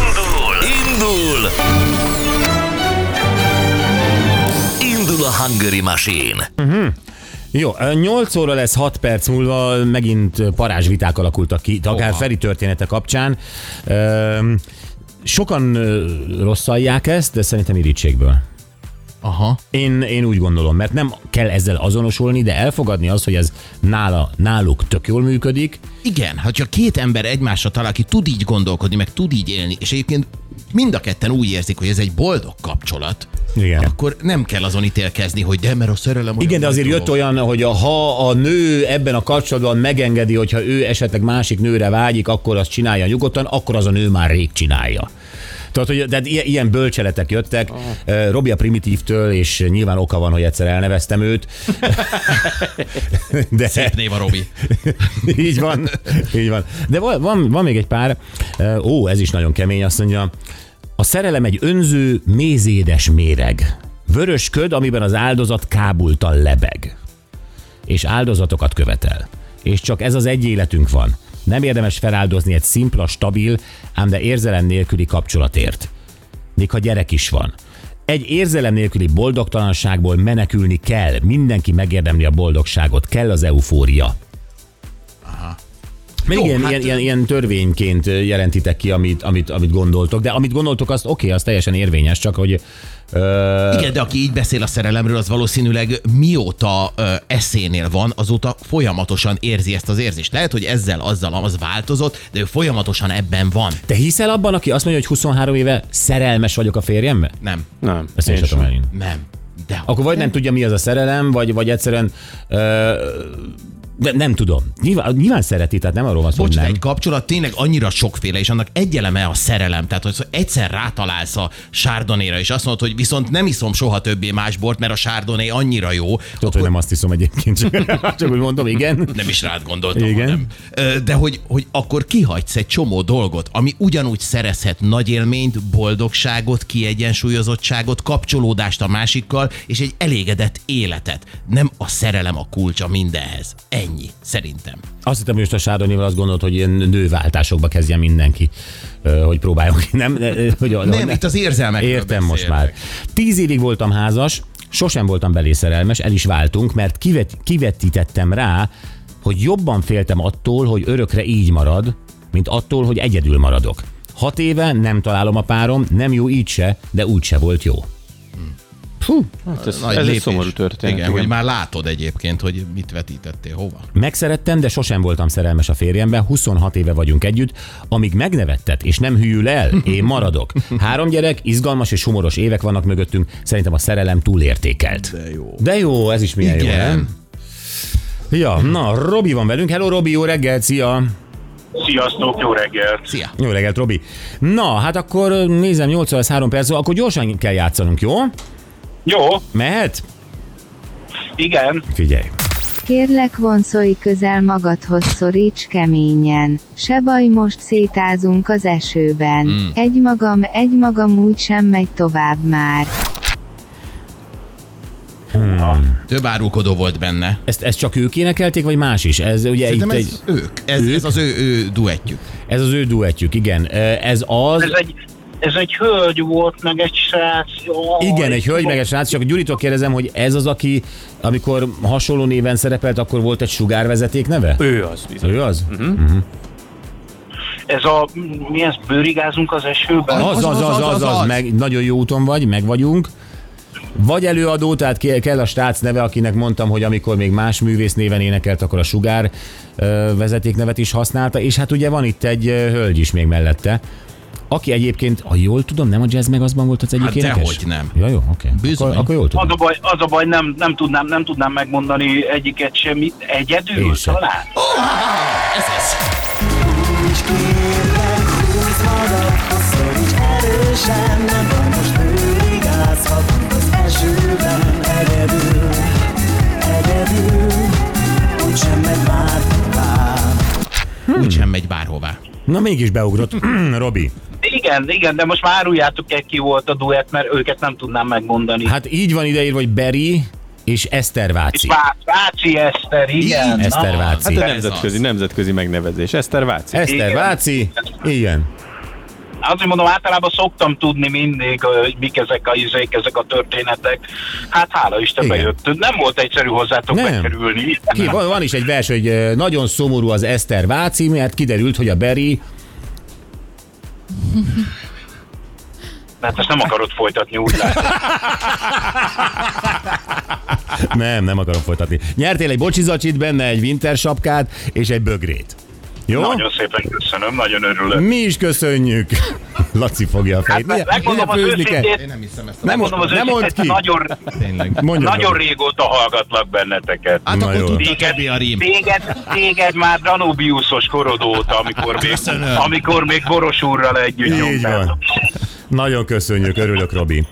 Indul! Indul! Indul a Hungary Machine! Jó, 8 óra lesz 6 perc múlva, megint parázsviták alakultak ki, itt akár Oha. Feri története kapcsán. Öm, Sokan ö, rosszalják ezt, de szerintem irítségből. Aha. Én, én úgy gondolom, mert nem kell ezzel azonosulni, de elfogadni az, hogy ez nála, náluk tök jól működik. Igen, hogyha két ember egymásra talál, aki tud így gondolkodni, meg tud így élni, és egyébként mind a ketten úgy érzik, hogy ez egy boldog kapcsolat, Igen. akkor nem kell azon ítélkezni, hogy de, mert a szerelem olyan Igen, de nagy azért jött dolog. olyan, hogy a, ha a nő ebben a kapcsolatban megengedi, hogyha ő esetleg másik nőre vágyik, akkor azt csinálja nyugodtan, akkor az a nő már rég csinálja. Tehát, hogy de ilyen, ilyen bölcseletek jöttek oh. Robi a primitívtől, és nyilván oka van, hogy egyszer elneveztem őt. De Szép név a Robi. így van, így van. De van, van, van még egy pár. Ö, Ó, ez is nagyon kemény, azt mondja. A szerelem egy önző, mézédes méreg. Vörös köd, amiben az áldozat kábultan lebeg. És áldozatokat követel. És csak ez az egy életünk van. Nem érdemes feláldozni egy szimpla, stabil, ám de érzelem nélküli kapcsolatért. Még ha gyerek is van. Egy érzelem nélküli boldogtalanságból menekülni kell. Mindenki megérdemli a boldogságot. Kell az eufória. Még Jó, ilyen, hát- hát... ilyen, ilyen, ilyen törvényként jelentitek ki, amit, amit, amit gondoltok, de amit gondoltok, azt oké, az teljesen érvényes, csak hogy ö, Igen, de aki így beszél a szerelemről, az valószínűleg mióta ö, eszénél van, azóta folyamatosan érzi ezt az érzést. Lehet, hogy ezzel, azzal az változott, de ő folyamatosan ebben van. te hiszel abban, aki azt mondja, hogy 23 éve szerelmes vagyok a férjembe? Nem, Nem. Ezt én, én sem tudom elhinni. nem. De Akkor vagy nem tudja, mi az a szerelem, vagy, vagy egyszerűen ö, de nem tudom. Nyilván, nyilván szereti, tehát nem arról van szó, Bocs, hogy de nem. egy kapcsolat tényleg annyira sokféle, és annak egy eleme a szerelem. Tehát, hogy egyszer rátalálsz a sárdonéra, és azt mondod, hogy viszont nem iszom soha többé más bort, mert a sárdoné annyira jó, Tudod, hogy nem azt hiszem egyébként, csak, csak úgy mondom, igen. nem is rád gondoltam, Igen. Igen. hanem. Ö, De hogy, hogy akkor kihagysz egy csomó dolgot, ami ugyanúgy szerezhet nagy élményt, boldogságot, kiegyensúlyozottságot, kapcsolódást a másikkal, és egy elégedett életet. Nem a szerelem a kulcsa mindenhez. Ennyi, szerintem. Azt hittem, hogy most a Sárdonival azt gondolt, hogy ilyen nőváltásokba kezdjen mindenki, ö, hogy próbáljon ki. Nem, ö, ö, hogy, a- Nem, itt az érzelmekről Értem most beszéltek. már. Tíz évig voltam házas, sosem voltam belé szerelmes, el is váltunk, mert kivet, kivetítettem rá, hogy jobban féltem attól, hogy örökre így marad, mint attól, hogy egyedül maradok. Hat éve nem találom a párom, nem jó így se, de úgy se volt jó. Hú, Hát ez, Nagy ez egy lépés. szomorú történet. Igen, hogy már látod egyébként, hogy mit vetítettél, hova. Megszerettem, de sosem voltam szerelmes a férjemben, 26 éve vagyunk együtt, amíg megnevettet és nem hűl el, én maradok. Három gyerek, izgalmas és humoros évek vannak mögöttünk, szerintem a szerelem túlértékelt. De jó. De jó, ez is milyen jó, nem? Ja, na, Robi van velünk. Hello, Robi, jó reggelt, szia! Sziasztok, jó reggelt! Szia! Jó reggelt, Robi. Na, hát akkor nézem, 8 óra, 3 perc, van, akkor gyorsan kell játszanunk, jó? Jó, Mehet? igen, Figyelj. Kérlek vonszolj közel magadhoz szoríts keményen. Se baj most szétázunk az esőben. Mm. Egy magam, egy magam úgy sem megy tovább már. Több árulkodó volt benne. Ezt, ezt csak ők énekelték, vagy más is? Ez ugye Szerintem itt ez egy, ők. Ez, Ők? ez az ő, ő duettjük. ez az ő duettjük, igen. Ez az... ez egy, ez egy hölgy volt, meg egy srác. Jaj, Igen, egy hölgy meg egy srác, csak Gyuritól kérdezem, hogy ez az, aki amikor hasonló néven szerepelt, akkor volt egy sugárvezeték neve? Ő az bizony. Ő az? Ez a, mi ez, bőrigázunk az esőben? Az, az, az, az, az, az, meg nagyon jó úton vagy, meg vagyunk. Vagy előadó, tehát ki- kell a srác neve, akinek mondtam, hogy amikor még más művész néven énekelt, akkor a sugár ö, vezeték nevet is használta, és hát ugye van itt egy ö, hölgy is még mellette, aki egyébként, ha jól tudom, nem a jazz meg azban volt az egyik Hát énekes? dehogy nem. Ja, jó, oké. Bizony. Akkor, akkor jól tudom. Az a baj, az a baj nem, nem, tudnám, nem tudnám megmondani egyiket semmit. Egyedül Én sem. talán? Ez az. Úgysem megy bárhová. Na mégis beugrott. Robi. Igen, igen, de most már áruljátok el, ki volt a duett, mert őket nem tudnám megmondani. Hát így van ideírva, hogy Beri, és Eszter Váci. Vá- Váci Eszter, igen. Így, Eszter Na, Váci. Hát a Ez nemzetközi, az. nemzetközi megnevezés. Eszter Váci. Eszter igen. Váci, igen. Azért mondom, általában szoktam tudni mindig, hogy mik ezek a izék, ezek a történetek. Hát hála Isten Igen. bejött. Nem volt egyszerű hozzátok Nem. bekerülni. Ki, van, van is egy vers, hogy ö, nagyon szomorú az Eszter Váci, mert kiderült, hogy a Beri Hát ezt nem akarod folytatni úgy látom. Nem, nem akarom folytatni. Nyertél egy bocsizacsit, benne egy winter sapkát és egy bögrét. Jó? Nagyon szépen köszönöm, nagyon örülök. Mi is köszönjük. Laci fogja a fejét. Hát, megmondom az főzni kell? őszintét, Én nem hiszem ezt a Nem mondom az ne mondd őszintét, ki. nagyon, tényleg. Mondjad nagyon Robi. régóta hallgatlak benneteket. Hát Na akkor jó. tudta Téged, Kebi a rím. téged, téged már Danubiusos korod óta, amikor még, Köszönöm. amikor még Boros úrral együtt Így nyomtátok. van. Nagyon köszönjük, örülök, Robi.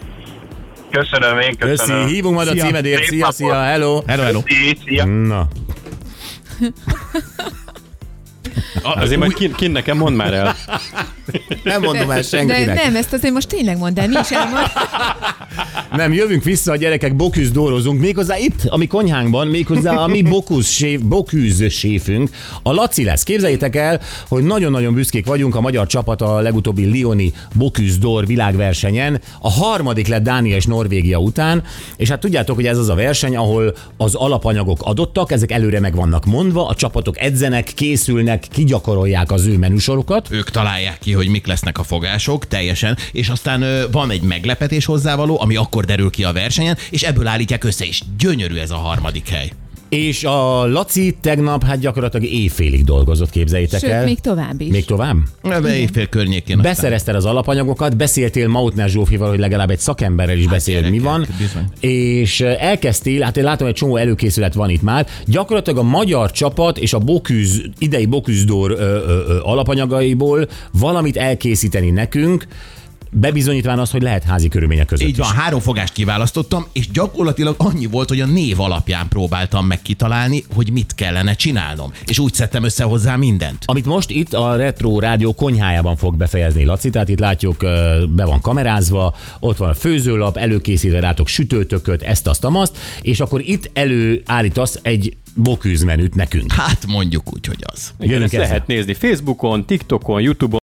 Köszönöm, én Köszi, köszönöm. hívunk majd a Szia. címedért. Szép Szia, napot. szia, hello. Hello, hello. Szia, szia. Na, A- Azért majd kin, kin nekem mondd már el. nem mondom el De senkinek. nem, ezt azért most tényleg mondd el, mi is elmond. Nem, jövünk vissza a gyerekek, boküz dórozunk, méghozzá itt, ami konyhánkban, méghozzá a mi boküz, séf, boküz séfünk, a Laci lesz. Képzeljétek el, hogy nagyon-nagyon büszkék vagyunk, a magyar csapat a legutóbbi Lioni boküz dór világversenyen, a harmadik lett Dánia és Norvégia után, és hát tudjátok, hogy ez az a verseny, ahol az alapanyagok adottak, ezek előre meg vannak mondva, a csapatok edzenek, készülnek, kigyakorolják az ő menüsorokat, ők találják ki, hogy mik lesznek a fogások teljesen, és aztán ö, van egy meglepetés hozzávaló, ami akkor derül ki a versenyen, és ebből állítják össze, és gyönyörű ez a harmadik hely. és a Laci tegnap hát gyakorlatilag éjfélig dolgozott, képzeljétek Sőt, el. még tovább is. Még tovább? Ebbe Éjfél környékén. aztán. Beszerezted az alapanyagokat, beszéltél Mautner Zsófival, hogy legalább egy szakemberrel is beszél, hogy mi gyerekek, van, bizony. és elkezdtél, hát én látom, hogy egy csomó előkészület van itt már, gyakorlatilag a magyar csapat és a Boküz, idei Boküzdor ö, ö, ö, alapanyagaiból valamit elkészíteni nekünk, bebizonyítván azt, hogy lehet házi körülmények között Így van, is. három fogást kiválasztottam, és gyakorlatilag annyi volt, hogy a név alapján próbáltam meg kitalálni, hogy mit kellene csinálnom. És úgy szedtem össze hozzá mindent. Amit most itt a Retro Rádió konyhájában fog befejezni Laci, tehát itt látjuk, ö, be van kamerázva, ott van a főzőlap, előkészítve rátok sütőtököt, ezt, azt, amazt, és akkor itt előállítasz egy bokűzmenüt nekünk. Hát mondjuk úgy, hogy az. Igen, Jönünk ezt ezzel. lehet nézni Facebookon, TikTokon, Youtube-on.